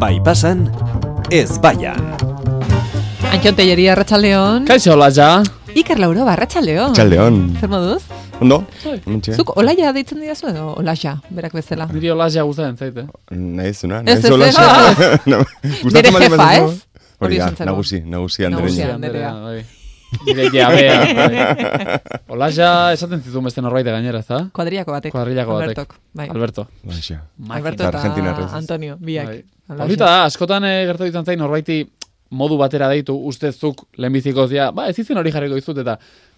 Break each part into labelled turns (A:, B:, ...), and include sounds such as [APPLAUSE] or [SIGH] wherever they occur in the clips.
A: Bai pasan, ez baian.
B: Antxon Telleri, arratsaldeon.
C: Kaixo, Laia.
B: Iker Lauro, arratsaldeon.
D: Txaldeon.
B: Zer moduz?
D: Ondo? Ontxe.
B: Zuk olaia deitzen didazu edo olaia, berak bezala.
C: Niri Olaia gustatzen zaite.
D: Nahi zuna,
B: Ez,
D: nahi
B: ez,
D: zola
B: ez, [LAUGHS]
D: [LAUGHS]
B: Bere
D: Gustatzen bali
B: jefa,
D: bazen
B: ez? Hori
D: Hori da,
B: esan zen, no?
D: nagusi, nagusi
B: Nagusia.
D: handereina.
B: Anderea.
C: bai. Nire jabea. Olaia esaten zituen beste norbait gainera, ezta?
B: Kuadriako batek.
C: Kuadrillako batek.
B: Albertok, bai.
C: Alberto.
D: Baixa.
B: Alberto
D: Eta argentinarrez,
B: eta
D: ez?
B: Antonio, biak.
C: Bai.
B: Olaia.
C: Horita da, askotan eh, gertatu izan zain norbaiti modu batera deitu, ustezuk lehenbizikoz dira, ba, ez izen hori jarriko izut eta,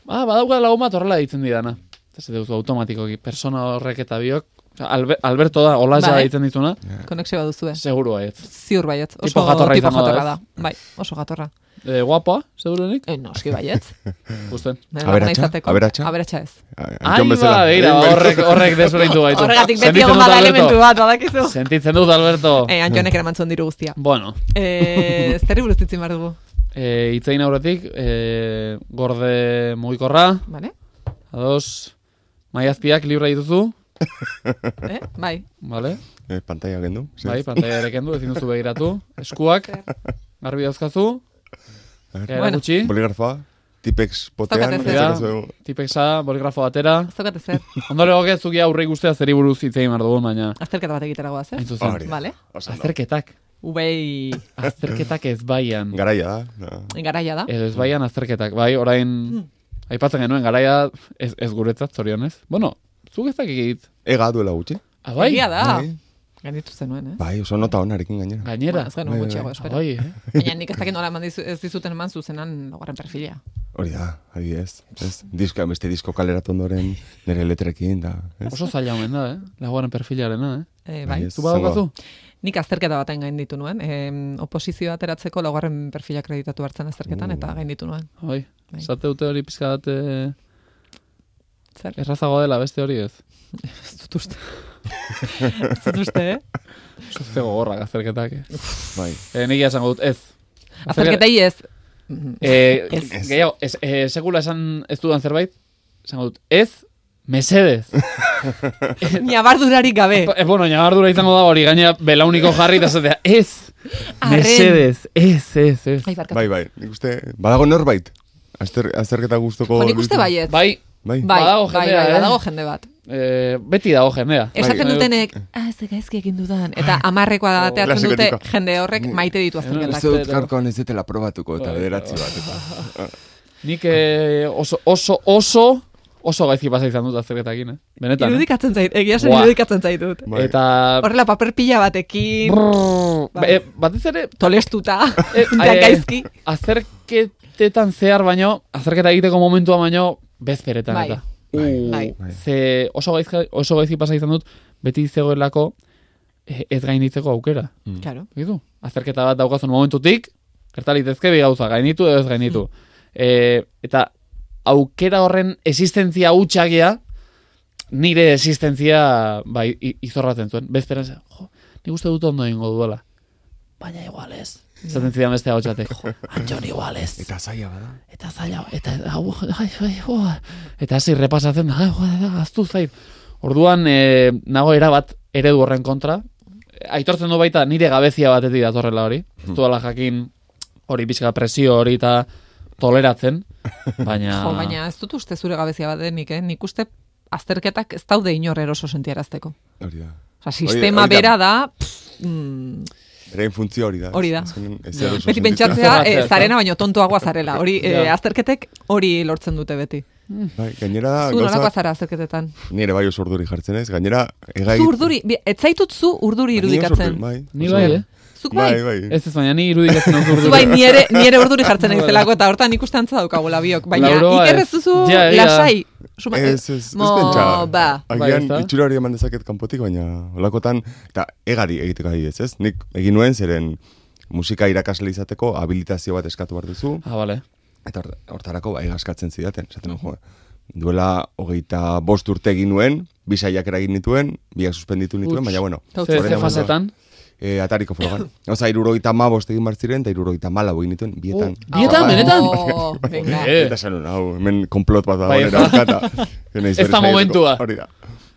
C: ba, badauka lagun bat horrela ditzen didana. Ez duzu automatikoki, persona horrek eta biok, Osea, Albe- Alberto da, olaia
B: Bai.
C: ditzen dizuna,
B: Konexio baduzu, eh?
C: seguru ez.
B: Ziur baiet. Oso
C: Tipo jatorra
B: tipo
C: izango da,
B: jatorra
C: ez?
B: da. Bai, oso jatorra.
C: E, guapoa, seguruenik?
B: Eh, noski
D: [LAUGHS]
B: baiet.
C: Gusten.
D: Aberatsa? Aberatsa?
B: Aberatsa ez.
C: Ai, ba, begira, horrek, horrek desberdintu gaitu.
B: Horregatik beti
C: Sentitzen
B: egon
C: dut,
B: bada
C: Alberto.
B: elementu bat, badakizu.
C: Sentitzen dut, Alberto.
B: Eh, Antxonek eramantzun diru guztia.
C: Bueno, [LAUGHS]
B: Eh, zerri buruz ditzin behar dugu,
C: eh, itzein aurretik, eh, gorde mugikorra,
B: bale?
C: ados, maiazpiak libra dituzu,
B: Eh? Bai,
C: vale?
D: Eh, pantalla gendu. zer?
C: Bai, pantailarekin du, ezin duzu begiratu. Eskuak, garbi dauzkazu, erakutsi,
D: Poligrafoa, tipex potean.
B: Ez daukat
D: ez
C: ezer.
D: daukazu-
C: tipexa, boligrafo batera.
B: ez daukat ezer.
C: Ondo legoke zuki aurre ikustea zeri buruz hitzein behar dugun, baina,
B: Azterketa bat egitera goaz, eh?
C: hain
D: Hori
C: zuzen.
D: da.
B: Bale?
D: Oso ondo.
C: Azterketak,
B: Ubei
C: azterketak ez baian.
D: Garaia da. da.
B: garaia da.
C: Edo ez baian azterketak, bai, orain
B: Mm.
C: aipatzen genuen garaia ez, ez guretzat zorionez. Bueno, zuk ez dakit.
D: Ega duela gutxi.
C: Ah, bai,
B: Egia da.
D: Bai.
B: Ganitu zenuen, eh?
D: Bai, oso nota honarekin gainera.
C: gainera.
B: Bueno, ez genuen gutxiago
C: Ah,
B: espero.
C: bai, eh?
B: Baina nik ez dakit nola eman dizu, ez dizuten eman zuzenan laugarren perfila.
D: Hori da, adibidez. Ez, diska, beste disko kaleratu ondoren nire letrekin da. Ez?
C: oso zaila omen da, eh? Lagoaren perfilarena, eh?
B: Eh,
D: Bai,
B: bai.
D: ez.
C: Zu badaukazu?
B: Nik azterketa baten gain ditu nuen. Eh, oposizio ateratzeko laugarren perfila kreditatu hartzen azterketan eta gain ditu nuen.
C: Ah, Bai,
B: Bai.
C: esate dute hori pizka bat eh,
B: Zer?
C: errazagoa dela beste hori ez.
B: Ez dut uste. ez dut uste,
C: [LAUGHS]
B: eh?
C: Oso zego gorrak azterketak, eh?
D: Bai.
C: Eh, nik esango dut, ez.
B: Azterketa ez.
C: Eh,
B: Mm. Ez.
C: Gehiago, ez, eh, sekula esan ez dudan zerbait, esango dut, ez,
B: [LAUGHS]
C: mesedez.
B: Nabardurarik gabe.
C: Eh, bueno, ñabardura izango da hori, gainera belauniko jarri eta zatea, ez,
B: Arren.
C: mesedez, ez, ez, ez.
B: Ai, barkatu.
D: Bai, bai. Nik uste, badago norbait. Azter, azterketa gustoko.
B: Jo, Nik uste baiet. Bai,
C: Bai,
D: Bai.
B: bai,
C: Badago
B: bai,
C: jendea, eh?
B: badago jende bat.
C: eh, beti dago jendea. eh,
B: Esaten
D: Bai. Oh,
B: dutenek, ah, ez gaizki egin dudan. Eta amarrekoa da bateatzen dute
D: Klasikoetiko.
B: jende horrek
D: Mm.
B: maite ditu
D: Uste
B: azterketak.
D: dut gaurkoan ez dutela probatuko
B: Bai.
D: eta bederatzi bat. Eta.
C: Nik eh, oso, oso, oso, oso gaizki pasa izan dut azterketakin, eh? Benetan. eh?
B: Irudikatzen zait, egia zen
C: Buah.
B: irudikatzen zaitut.
D: Bai.
C: Eta...
B: Horrela paper pila batekin,
C: Brrr,
B: Bai.
C: eh, batez ere... [LAUGHS]
B: tolestuta,
C: eh,
B: [LAUGHS] da
C: eh,
B: gaizki.
C: Azterketetan zehar baino, azterketa egiteko momentua baino, bezperetan
B: Bai.
C: eta.
D: Bai.
B: Bai.
D: Bai.
C: Ze oso gaizki, oso gaizki pasa izan dut, beti zegoelako eh, ez gainditzeko aukera.
B: Claro.
C: Gitu? Azterketa bat daukazun momentutik, gertalitezke bi gauza, gainitu edo ez gainitu. E, eta aukera horren existentzia utxagia, nire existentzia bai, i- izorratzen zuen. Bezperan zen, jo, nik uste dut ondo egingo duela. Baina igual ez. Zaten zidan beste hau txatek, jo,
D: [LAUGHS]
C: Antxon igual ez.
D: Eta zaila bada.
C: Eta zaila, eta hau, ai, ai, jo, eta hasi repasatzen, ai, jo, da, gaztu zait. Orduan, e, nago erabat eredu horren kontra, aitortzen du baita nire gabezia batetik datorrela hori, ez duela jakin hori pixka presio hori eta toleratzen,
D: [LAUGHS]
C: baina...
B: Jo, baina ez dut uste zure gabezia bat denik, eh? Nik uste azterketak ez daude inor eroso sentiarazteko.
D: Hori da.
B: Osa, sistema
D: hori da.
B: bera da, pff, mm,
D: Berain funtzio hori da.
B: Hori da.
D: Azkenean ez
C: Ja.
D: eroso
B: beti
D: sentitzen. [LAUGHS]
B: pentsatzea,
C: Zorratzea,
B: eh,
C: ez da?
B: zarena baino tontoagoa zarela.
C: [LAUGHS]
B: Hori, eh,
C: Ja.
B: azterketek hori lortzen dute beti.
D: Bai, gainera,
B: Zu nolakoa
D: gauza,
B: zara azterketetan?
D: nire bai oso urduri jartzen ez, gainera... Ega
B: Zu urduri, bi- ez zaitut zu urduri irudikatzen.
D: Bai,
C: Ni
D: oso-
C: bai, eh?
B: Zuk
D: Bai,
B: bai?
D: bai.
C: Ez ez, baina ni
D: [LAUGHS]
C: irudikatzen hau
B: Zu bai, ni ere, ni ere urduri jartzen naizelako eta hortan ikuste antza daukagula biok. Baina
C: Lauroa Bai. ez.
B: ikerrez duzu
C: Ja, egia.
B: lasai. Suma,
D: Ez, ez, ez
B: bai? Mo,
D: pentsa.
B: ba.
D: Agian
C: Bai, ezta?
D: itxura hori eman dezaket kanpotik, baina olakotan, eta egari egiteko adibidez, ez? Nik egin nuen zeren musika irakasle izateko habilitazio bat eskatu behar duzu,
C: Ah, bale.
D: eta hort- hortarako bai gaskatzen zidaten, esaten nuen, jo, duela hogeita bost urte egin nuen, bisaiak eragin nituen, biak suspenditu nituen,
C: Uts.
D: baina bueno.
C: Ze,
B: Horren
C: ze
D: orain
C: fasetan?
D: E, atariko
C: [COUGHS]
D: frogan. Oza, irurogeita ma bost egin behar ziren, eta irurogeita ma lau egin nituen, bietan.
C: Oh, bietan,
D: Bai.
C: benetan?
B: Oh, venga.
C: Eh.
D: Eta esan nuen, hau, hemen konplot bat da
C: Bai,
D: honera
C: ja. [LAUGHS]
D: aukata.
C: Ez da momentua.
D: Hori da.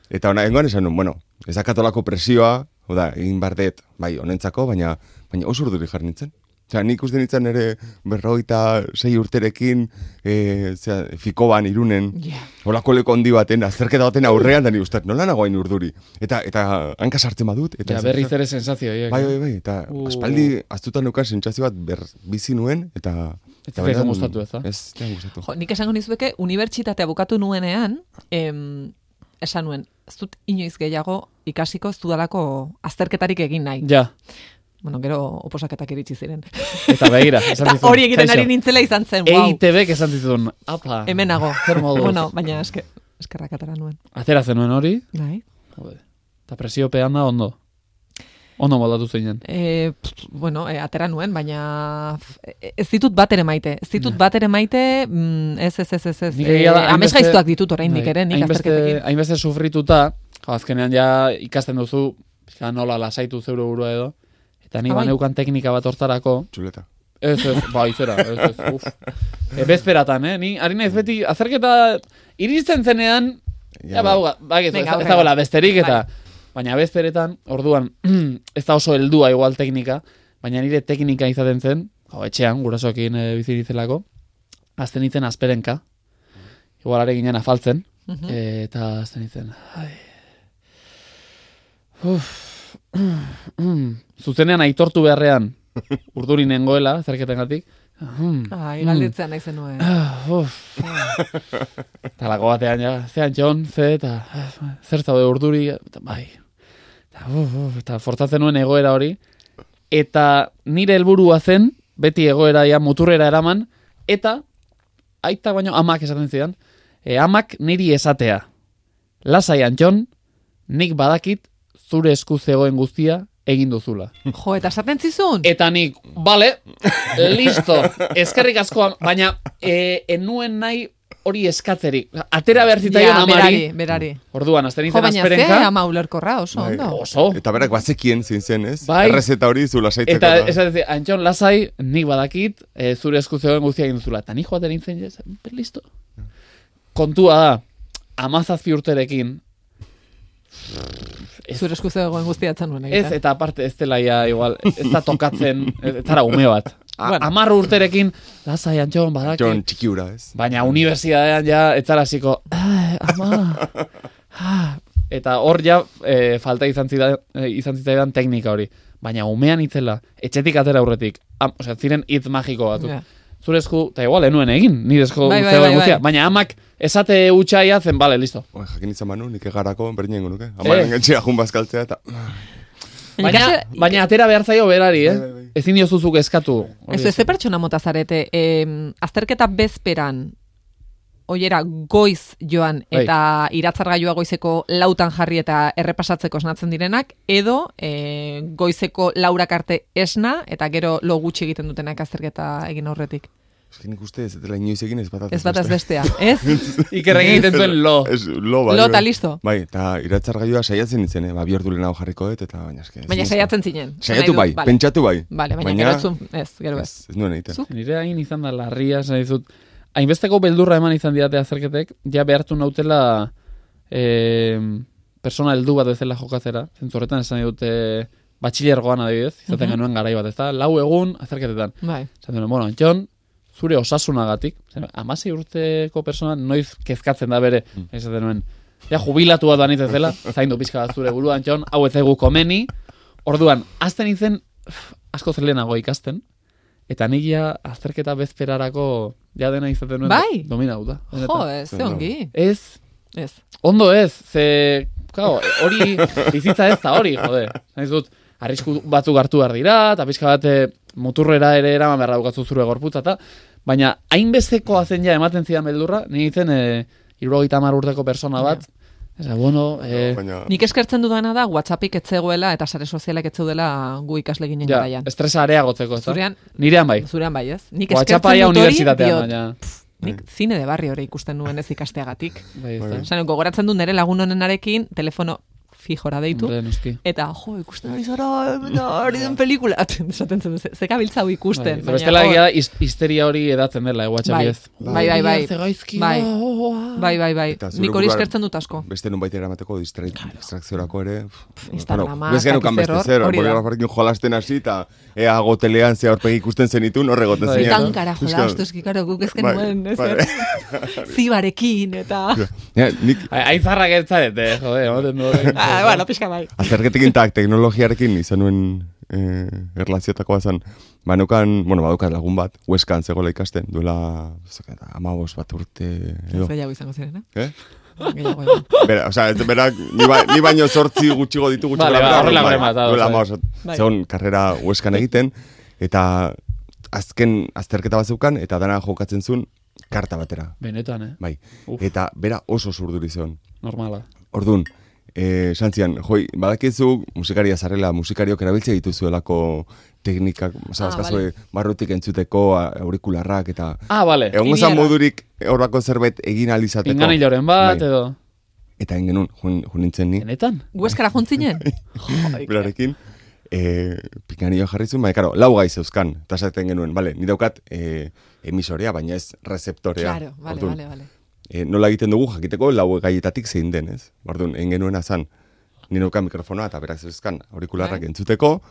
D: Eta ona, engoan esan nuen, bueno, ez dakatolako presioa, Oda, egin bardet, bai, honentzako, baina, baina oso urduri jarri nintzen. Osea, nik uste nintzen ere berrogeita sei urterekin, e, zera, fikoban, irunen,
B: Ja.
D: Olako leko handi baten, azterketa baten aurrean, da ni uste, nola nagoain urduri. Eta, eta hanka sartzen badut. Eta
C: Ja, berriz ere sensazio, hiek.
D: Bai, bai, bai, eta
C: Uh.
D: aspaldi aztutan nukan sentsazio bat ber, bizi nuen, eta...
C: Ez
D: eta
C: zitzaigun
D: benetan-
C: gustatu, ez da?
D: Ez, ez zitzaigun gustatu.
B: Jo, nik esango nizueke, unibertsitatea bukatu nuenean, em, esan nuen, ez dut inoiz gehiago ikasiko ez dudalako azterketarik egin nahi.
D: bai.
C: Ja,
B: Bueno, gero oposaketak iritsi ziren.
C: eta begira. esan
B: Eta
C: zizun,
B: hori egiten
C: kaixo.
B: ari nintzela izan zen, wow,
C: EITBek esan zituen, apa,
B: hemenago.
C: zer moduz.
B: Bueno, baina eske, eskerrak atera nuen.
C: Atera zenuen hori,
B: Bai.
C: Joder. eta presiopean da ondo. Ondo moldatu zeinen.
B: E, pff, bueno, e, atera nuen, baina f- e- ez ditut bat ere maite. Ez ditut bat ere maite, mm, ez, ez, ez, ez, ez.
C: Nik
B: E,
C: egia da, hainbeste-
B: amesgaiztuak ditut oraindik
C: Bai,
B: ere, nik
C: hainbeste-
B: azterketekin.
C: Hainbeste sufrituta, jo, azkenean ja ikasten duzu, ja nola lasaitu zeure burua edo, eta ni
B: Ah, bai.
C: baneukan teknika bat hortarako,
D: Txuleta.
C: Ez, ez, bai, zera, ez, ez,
B: [LAUGHS]
C: uf. E, bezperatan, eh? Ni, ari naiz beti, azerketa iristen zenean, ja,
D: bai.
C: ba, ba, ba,
B: Venga,
C: ez,
B: Bai.
C: ez
B: aurrera.
C: dagoela besterik, eta, baina bezperetan, orduan, [CLEARS THROAT] ez da oso heldua igual teknika, baina nire teknika izaten zen, hau, etxean, gurasoekin e, bizi ditzelako, azten nintzen asperenka, igual are ginen afaltzen,
B: Mhm.
C: e, eta azten nintzen, ai, uf, [CLEARS THROAT] zuzenean aitortu beharrean, urduri nengoela, zerketengatik, Hmm.
B: Ai, galditzean nahi zenuen.
C: Ah, uf. Eta lako batean, ja, zean jon, ze, eta ah, zer zaude urduri, eta bai. Eta, uf, uf, eta fortatzen nuen egoera hori. Eta nire helburua zen, beti egoera ja muturrera eraman, eta aita baino amak esaten zidan, e, amak niri esatea. Lasai Antxon, nik badakit zure esku zegoen guztia egin duzula.
B: Jo, eta esaten zizun?
C: Eta nik, bale, listo, eskerrik askoan, baina e, enuen nahi hori eskatzerik. Atera behar zitzaion
B: Ja, berari,
C: amari.
B: berari.
C: Orduan, azten
B: Jo,
C: nintzen
B: baina ze
C: asperenka.
B: ama ulerkorra oso,
D: Bai.
B: ondo.
C: Oso.
D: Eta berak bazekien zein zen, ez?
C: Bai.
D: Errezeta hori zu lasaitzeko.
C: Eta esaten zi, Antxon, lasai, nik badakit, e, zure esku zegoen guztia egin duzula. Eta nik joaten nintzen, ja, esan, listo. Kontua da, amazazpi urterekin, Ez.
B: Zure esku zegoen guztia etzan nuen
C: Ez,
B: egiten.
C: eta aparte ez dela ia igual, ez da tokatzen, ez ez zara ume bat. A,
B: Bueno.
C: Amarru urterekin, lasai, Antxon, badakit.
D: Jon txikiura, ez?
C: Baina unibertsitatean ja etzara hasiko, "Ah, ama. [LAUGHS] ah." Eta hor ja e, falta izan zida e, izan zitzaidan teknika hori. Baina umean itzela, etxetik atera aurretik. Am, osea, ziren hitz magiko batzuk.
B: Ja.
C: Zure esku, eta igual enuen egin, nire esku
B: Bai, bai,
C: zegoen
B: bai, bai.
C: guztia. Baina amak esate utxaia zen, bale, listo.
D: Oe, jakin izan banu, nik egarako, berdin ingo nuke. Amaren
C: Eh.
D: etxea jun bazkaltzea, eta...
C: Baina,
B: Ikasi-
C: baina atera behar zaio berari, eh?
D: Bai, bai, bai.
C: Ezin diozuzuk eskatu.
B: Ez, ez ze pertsona mota zarete, em, azterketa bezperan, oiera goiz joan
C: Bai.
B: eta iratzargailua goizeko lautan jarri eta errepasatzeko esnatzen direnak, edo e, goizeko laurak arte esna eta gero lo gutxi egiten dutenak azterketa egin aurretik.
D: Eskin nik uste ez dela inoiz egin ez bataz.
B: Ez bataz bestea, ez?
C: Ikerrek egiten zuen lo.
D: Ez, lo, bai.
B: Lo eta
D: bai.
B: listo.
D: Bai, eta iratzargailua saiatzen nintzen, eh? Ba, bi ordu lehenago jarriko dut, eta baina eske. ezin
B: Baina
D: izan.
B: saiatzen zinen.
D: Saiatu
B: Nahi
D: bai,
B: dut, vale.
D: pentsatu bai.
B: Vale, baina, gero ez zuen- ez, gero bai. ez.
D: Ez, ez nuen egiten.
B: Zuk?
C: Nire hain izan da larria, esan dizut. Hainbesteko beldurra eman izan didate azerketek, ja behartu nautela eh, persona heldu bat bezala jokatzera. Zentzu horretan esan dut eh, batxilergoan adibidez, izaten genuen garai bat, ezta? Lau egun azerketetan.
B: Bai.
C: Esan duen, bueno, Antxon, zure osasunagatik, zen, amasei urteko persona noiz kezkatzen da bere, esaten nuen, ja jubilatu bat banitz dela, zaindu pixka bat zure burua, Antxon, hau ez zaigu komeni, orduan, azten izen, asko zelenago ikasten, eta nik ja azterketa bezperarako ja dena izaten nuen,
B: Bai.
C: dominau da. benetan.
B: Jo, ez, ze ongi.
C: Ez,
B: Ez.
C: Ondo ez, ze, kao, hori bizitza ez da hori, jode. Zan dut, arrisku batzuk hartu behar dira, eta pixka bat eh, muturrera ere eraman behar daukatzu zure gorputza, eta baina hainbestekoa zen ja ematen zidan beldurra, ni nintzen e, irurogeita hamar urteko persona bat, Eta, bueno, eh,
D: Baina,
B: Nik eskertzen dudana da WhatsAppik etzegoela eta sare sozialak etzeudela gu ikasle ginen
C: ja,
B: garaian.
C: estresa areagotzeko, ez da?
B: Zurean,
C: Nirean bai.
B: zurean bai, ez? Nik
C: WhatsAppa
B: eskertzen
C: ja
B: dut hori,
C: unibertsitatean,
B: diot,
C: baina... Hmm.
B: nik zine de barri hori ikusten nuen ez ikasteagatik.
C: Bai, ez da.
B: Osa, gogoratzen du nire lagun honenarekin telefono fijora deitu.
C: Hombre, noski.
B: Eta, jo, ikusten ari zara, eta ari den pelikula. [LAUGHS] Esaten zen, ze- zekabiltza hau ikusten.
C: Bai,
B: baina,
C: Bestela
B: hor-
C: egia da, his- histeria hori edatzen dela, eh, WhatsApp
B: Bai,
C: ez.
B: bai, bai, bai. Bai, bai, bai, bai.
D: Eta zure
B: Nik hori
D: buruan-
B: eskertzen dut asko.
D: Beste nun baita eramateko distra- distrakziorako ere. pff,
B: Instagrama,
D: bueno, bez genukan
B: dakit zer
D: beste
B: hor,
D: zer,
B: hori da.
D: boligrafarekin jolasten hasi, eta ea gotelean ze aurpegi ikusten zenitun, horre goten
C: Bai.
D: zinen.
C: Eta
D: no?
B: Itankara
D: Euskal-
B: jolastu, eski, karo, guk ezken
D: Bai,
B: nuen, ez eh?
D: bai. [LAUGHS]
B: zibarekin, eta...
D: Ja, nik
C: Hain zarra gertzaret, eh, jode, ematen du horrein.
B: Ah, bueno, pixka bai.
D: azterketekin eta teknologiarekin izan nuen eh, erlaziotakoa zen. Banukan, bueno, badukat lagun bat, hueskan zegoela ikasten, duela amabos bat urte edo.
B: Ez gehiago izango ziren, eh?
D: Eh?
B: Gehiago, gehiago.
D: Bera, o sea, ez- berak, ni, ba, ni baino sortzi gutxigo ditu gutxi
C: Bale,
D: gora
C: ba,
D: behera,
C: horrela
D: bai,
C: gure matados,
D: duela
C: bai.
D: hamabost-
B: Bai.
D: zegoen karrera hueskan egiten, eta azken azterketa bat zeukan, eta dana jokatzen zuen karta batera.
C: Benetan, eh,
D: Bai.
C: Uf.
D: Eta bera oso zurduri zeon.
C: normala.
D: Orduan, eh, santzian, joi, badakizu musikaria zarela, musikariok erabiltzea dituzuelako teknikak, oza,
B: Ah,
D: ah, barrutik entzuteko a- aurikularrak, eta...
C: Ah, bale.
D: Egon gozan
B: Iniera.
D: modurik horrako zerbait egin alizateko.
C: Ingan hiloren bat,
D: Bai.
C: edo.
D: Eta egin genuen, jun, junintzen ni,
C: Benetan?
B: Hueskara
D: [LAUGHS]
B: jontzinen? [LAUGHS]
D: berarekin, e, pikanio jarri zuen, baina, karo, lau gai zeuzkan, eta esaten genuen, bale, ni daukat e, emisorea, baina ez rezeptorea.
B: Claro, vale,
D: Orduan,
B: vale, vale.
D: e, nola egiten dugu jakiteko lau gaietatik zein den, ez? Orduan, egin genuena zan, ni neukan mikrofonoa eta berak zeuzkan aurikularrak
B: Bai.
D: entzuteko,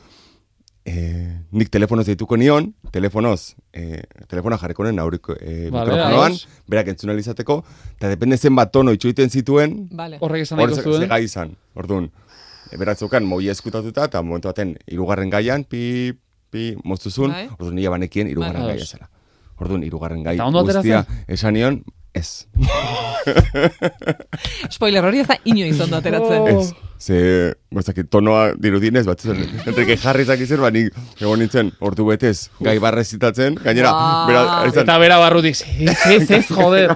D: e, nik telefonoz deituko nion, telefonoz, e, telefona jarriko nuen auriko, e,
C: Bale,
D: mikrofonoan,
C: ados.
D: berak entzun ahal izateko, eta depende zenbat tono itxoiten zituen,
B: Vale.
C: Horrek esan eh?
D: hor
C: daiko
D: ze- ze
C: zuen.
D: gai izan, orduan, e, berak zeukan moi eskutatuta, eta momentu baten, irugarren gaian, pi, pi, moztuzun,
B: Bai.
D: orduan nila banekien irugarren
C: Bai.
D: gaia zela. Orduan, irugarren gai
C: Eta ondo atera
D: guztia, esan nion, ez.
B: Spoiler hori ez da inoiz ondo ateratzen.
C: [LAUGHS]
D: Ez. Ze, gozaki, tonoa dirudinez, bat zen, Enrique Harrizak izen, ba, nik egon nintzen, ordu betez, gai barrezitatzen, gainera,
B: Ba.
D: bera, izan,
C: Eta bera barrutik, ez, ez, ez, joder.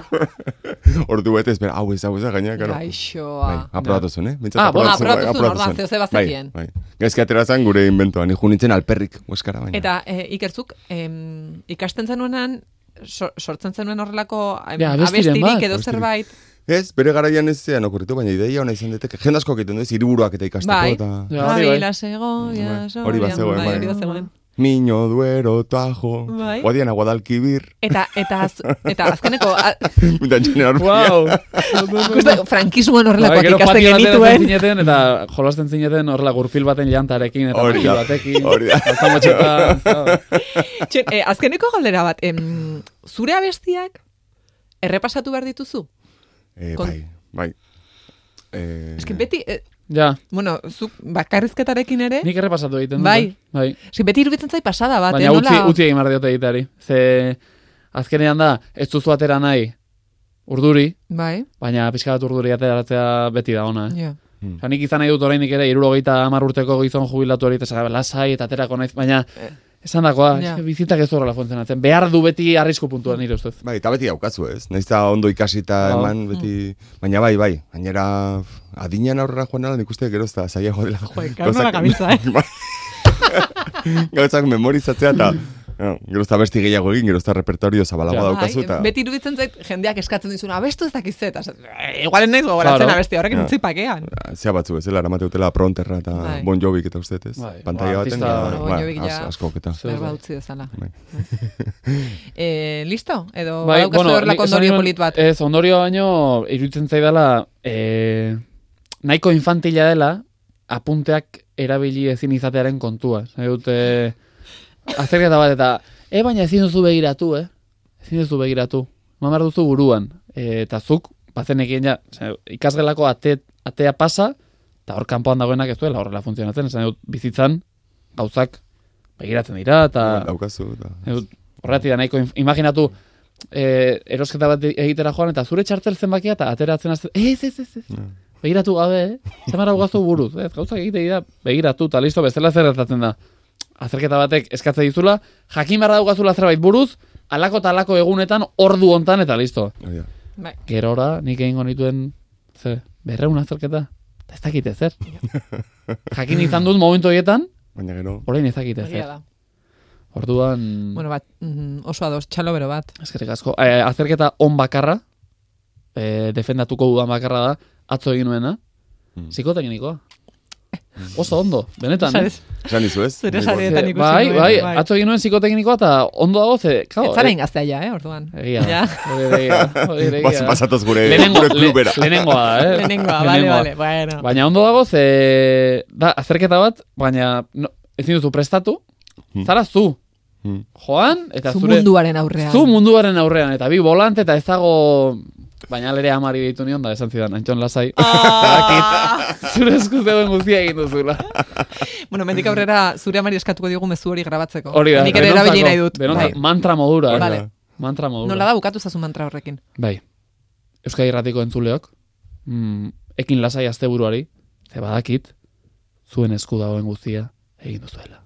D: ordu betez, bera, hau ez, hau ez, da, gainera, karo.
B: Gaixoa.
D: Bai, aprobatu zuen, eh? Bintzat
C: Ah, bueno,
B: aprobatu
D: aprobatu zuen, bai,
B: zuen,
D: aprobatu
B: orduan,
D: zuen.
B: zeo bazekien.
D: Bai, bai. Gaizki atera zen gure inventoan, ni jo nintzen alperrik, hueskara baina.
B: Eta e, ikertzuk, em, ikasten zenuenan, sor- sortzen zenuen horrelako em,
C: Ja, abestiren
B: abestirik
C: bat,
B: edo
D: abestirik.
B: zerbait.
D: Ez, bere garaian ez zean okurritu, baina ideia hona izan daiteke. Jende asko egiten du, ez, hiriburuak eta ikasteko,
B: Bai.
D: eta...
C: Ja, hori bai.
B: Ávila, Segovia,
D: Bai,
B: Soria,
D: hori bazegoen,
B: bai,
D: bai.
B: hori bazegoen.
D: [LAUGHS] Miño, duero, tajo,
B: Bai.
D: guadiana, guadalkibir,
B: Eta, eta, az- eta azkeneko,
C: [LAUGHS]
B: a,
D: [LAUGHS] da jenera
C: Wow.
B: ikuste, frankismoan horrelakoak
C: Bai, gero
B: ikasten
C: patioan ateratzen
B: genituen. [LAUGHS]
C: zineten, eta jolasten zineten horrela gurpil baten jantarekin, eta
D: Hori da,
C: gurpil batekin.
D: hori da.
B: [LAUGHS]
C: Hasta motxeta.
B: Txen, eh, azkeneko galdera bat, em, zure abestiak errepasatu behar dituzu?
D: Eh,
B: Kon-
D: bai, bai. Eh,
B: Eski beti, eh,
C: Ja,
B: bueno, zuk bakarrizketarekin ere,
C: nik errepasatu egiten dut.
B: Bai.
C: Bai.
B: eski beti iruditzen zait pasada bat, eh,
C: Baina utzi,
B: nola-
C: utzi egin behar diote egiteari. Ze azkenean da, ez duzu atera nahi urduri,
B: Bai,
C: baina pixka bat urduri ateratzea beti da ona. Eh?
B: ja.
C: Osea, nik izan nahi dut orainik ere, irurogeita hamar urteko gizon jubilatu hori, eta esan, lasai, eta aterako naiz, baina esan dakoa,
B: Ja.
C: yeah. bizitak ez du horrela funtzionatzen. Behar du beti arrisku puntua nire ustez.
D: Bai, eta beti daukazu ez, nahiz eta ondo ikasita
C: Hau.
D: eman, beti, baina bai, bai, gainera f- adinean aurrera joan ala nik uste gero ez da zailago dela.
B: Jo, ikar nola gabiltza, eh?
C: [LAUGHS]
D: Bai. [LAUGHS] Gauzak memorizatzea
B: [LAUGHS]
D: eta ja, gero ez da besti gehiago egin, gero ez da repertorio zabalagoa
C: Ja.
D: daukazu eta...
B: Bai, beti iruditzen zait jendeak eskatzen dizuna, abestu ez dakiz eta esaten, "Eh, igual ez naiz gogoratzen
C: Claro.
B: abesti horrekin
D: Ja.
B: utzi pakean.
D: Zea batzu bezala, eramate utela pronterra eta
B: Bai.
D: bon jobik eta uste, ez?
C: Bai,
D: Pantalla
C: ba,
D: baten,
C: artista-
D: eta,
B: Bon
D: ba,
B: Jovik
D: az-
B: ja-
D: asko eta.
C: Bai.
B: Berba utzi dezala.
D: Bai.
B: [LAUGHS] Eh, listo? Edo
C: Bai,
B: badaukazu horrelako
C: nik esan eh,
B: ondorio
C: nion-
B: polit bat.
C: Ez, ondorio baino, iruditzen zaidala, e, nahiko infantila dela, apunteak erabili ezin izatearen kontua. Nahi dut, e, azterketa bat, eta, e, baina ezin duzu begiratu, eh? Ezin duzu begiratu. Mamar duzu buruan. E, eta zuk, bazenekien ja, esan dut, ikasgelako ate, atea pasa, eta hor kanpoan dagoenak ez duela horrela funtzionatzen. Esan dut, bizitzan, gauzak begiratzen dira, eta...
D: Bai, Daukazu, eta...
C: Ez dut, Horregatik da nahiko, in- imaginatu, eh, erosketa bat egitera joan, eta zure txartel zenbakia, eta ateratzen azte, ez, ez, ez, ez. Begiratu gabe, eh? Zemara hogaztu buruz, ez, gauzak egite dira, begiratu, eta listo, bezala zer gertatzen da. Azerketa batek eskatze dizula, jakin behar daukazula zerbait buruz, alako eta alako egunetan, ordu hontan eta listo.
D: Hori da.
B: Bai.
C: Gerora, nik egingo nituen, ze, berreun azterketa, eta ez dakite zer. Jakin izan dut momentu horietan,
D: Baina gero...
C: orain ez dakite
B: Egia
C: zer.
B: da.
C: Orduan...
B: Bueno, bat, mm, oso ados, txalo bero bat.
C: Eskerrik asko. E, Eh, azterketa on bakarra, e, defendatuko dudan bakarra da, atzo egin nuena.
B: [LAUGHS]
C: Psikoteknikoa. Oso ondo, benetan. eh?
B: Sabes?
D: Esan dizu ez?
B: Zure
D: Nik
B: sareetan
D: bortz-
B: ikusi
C: Bai,
B: nuen,
C: bai,
B: bai.
C: atzo egin nuen psikoteknikoa eta ondo dago ze,
B: Ez
C: kao,
B: zara
C: e-
B: ingaztea ja, eh, orduan.
C: Egia da.
B: Ja.
C: Hori da, egia da, hori da, egia
D: Bas-
C: da.
D: Pasatuz gure,
C: Lehenengo-
D: eh, gure
C: le-
D: klubera.
C: Lehenengoa, eh? [LAUGHS]
B: Lehenengoa, bale, bale, bueno.
C: Baina ondo dago, ze... Da, azterketa bat, baina no, ezin duzu prestatu, zara zu.
D: Hmm.
C: Joan, eta
B: Zu
C: zure...
B: munduaren aurrean.
C: Zu munduaren aurrean, eta bi bolante, eta ez dago... Baina lere amari ditu nion da, esan zidan, Antxon Lasai.
D: [LAUGHS]
B: Ah!
C: [LAUGHS] Zure eskuz dagoen guztia egin duzula.
B: bueno, mendik aurrera zure amari eskatuko diogu mezu hori grabatzeko.
C: Hori da.
B: Nik ere
C: denontzako-
B: erabili nahi dut.
C: denontzako-
B: Bai.
C: mantra modura. eh?
B: Vale.
C: Mantra modura.
B: Nola da bukatu zazu mantra horrekin?
C: Bai. Euskadi Irratiko entzuleok, mm, ekin lasai asteburuari, ze badakit, zuen esku dagoen guztia egin duzuela.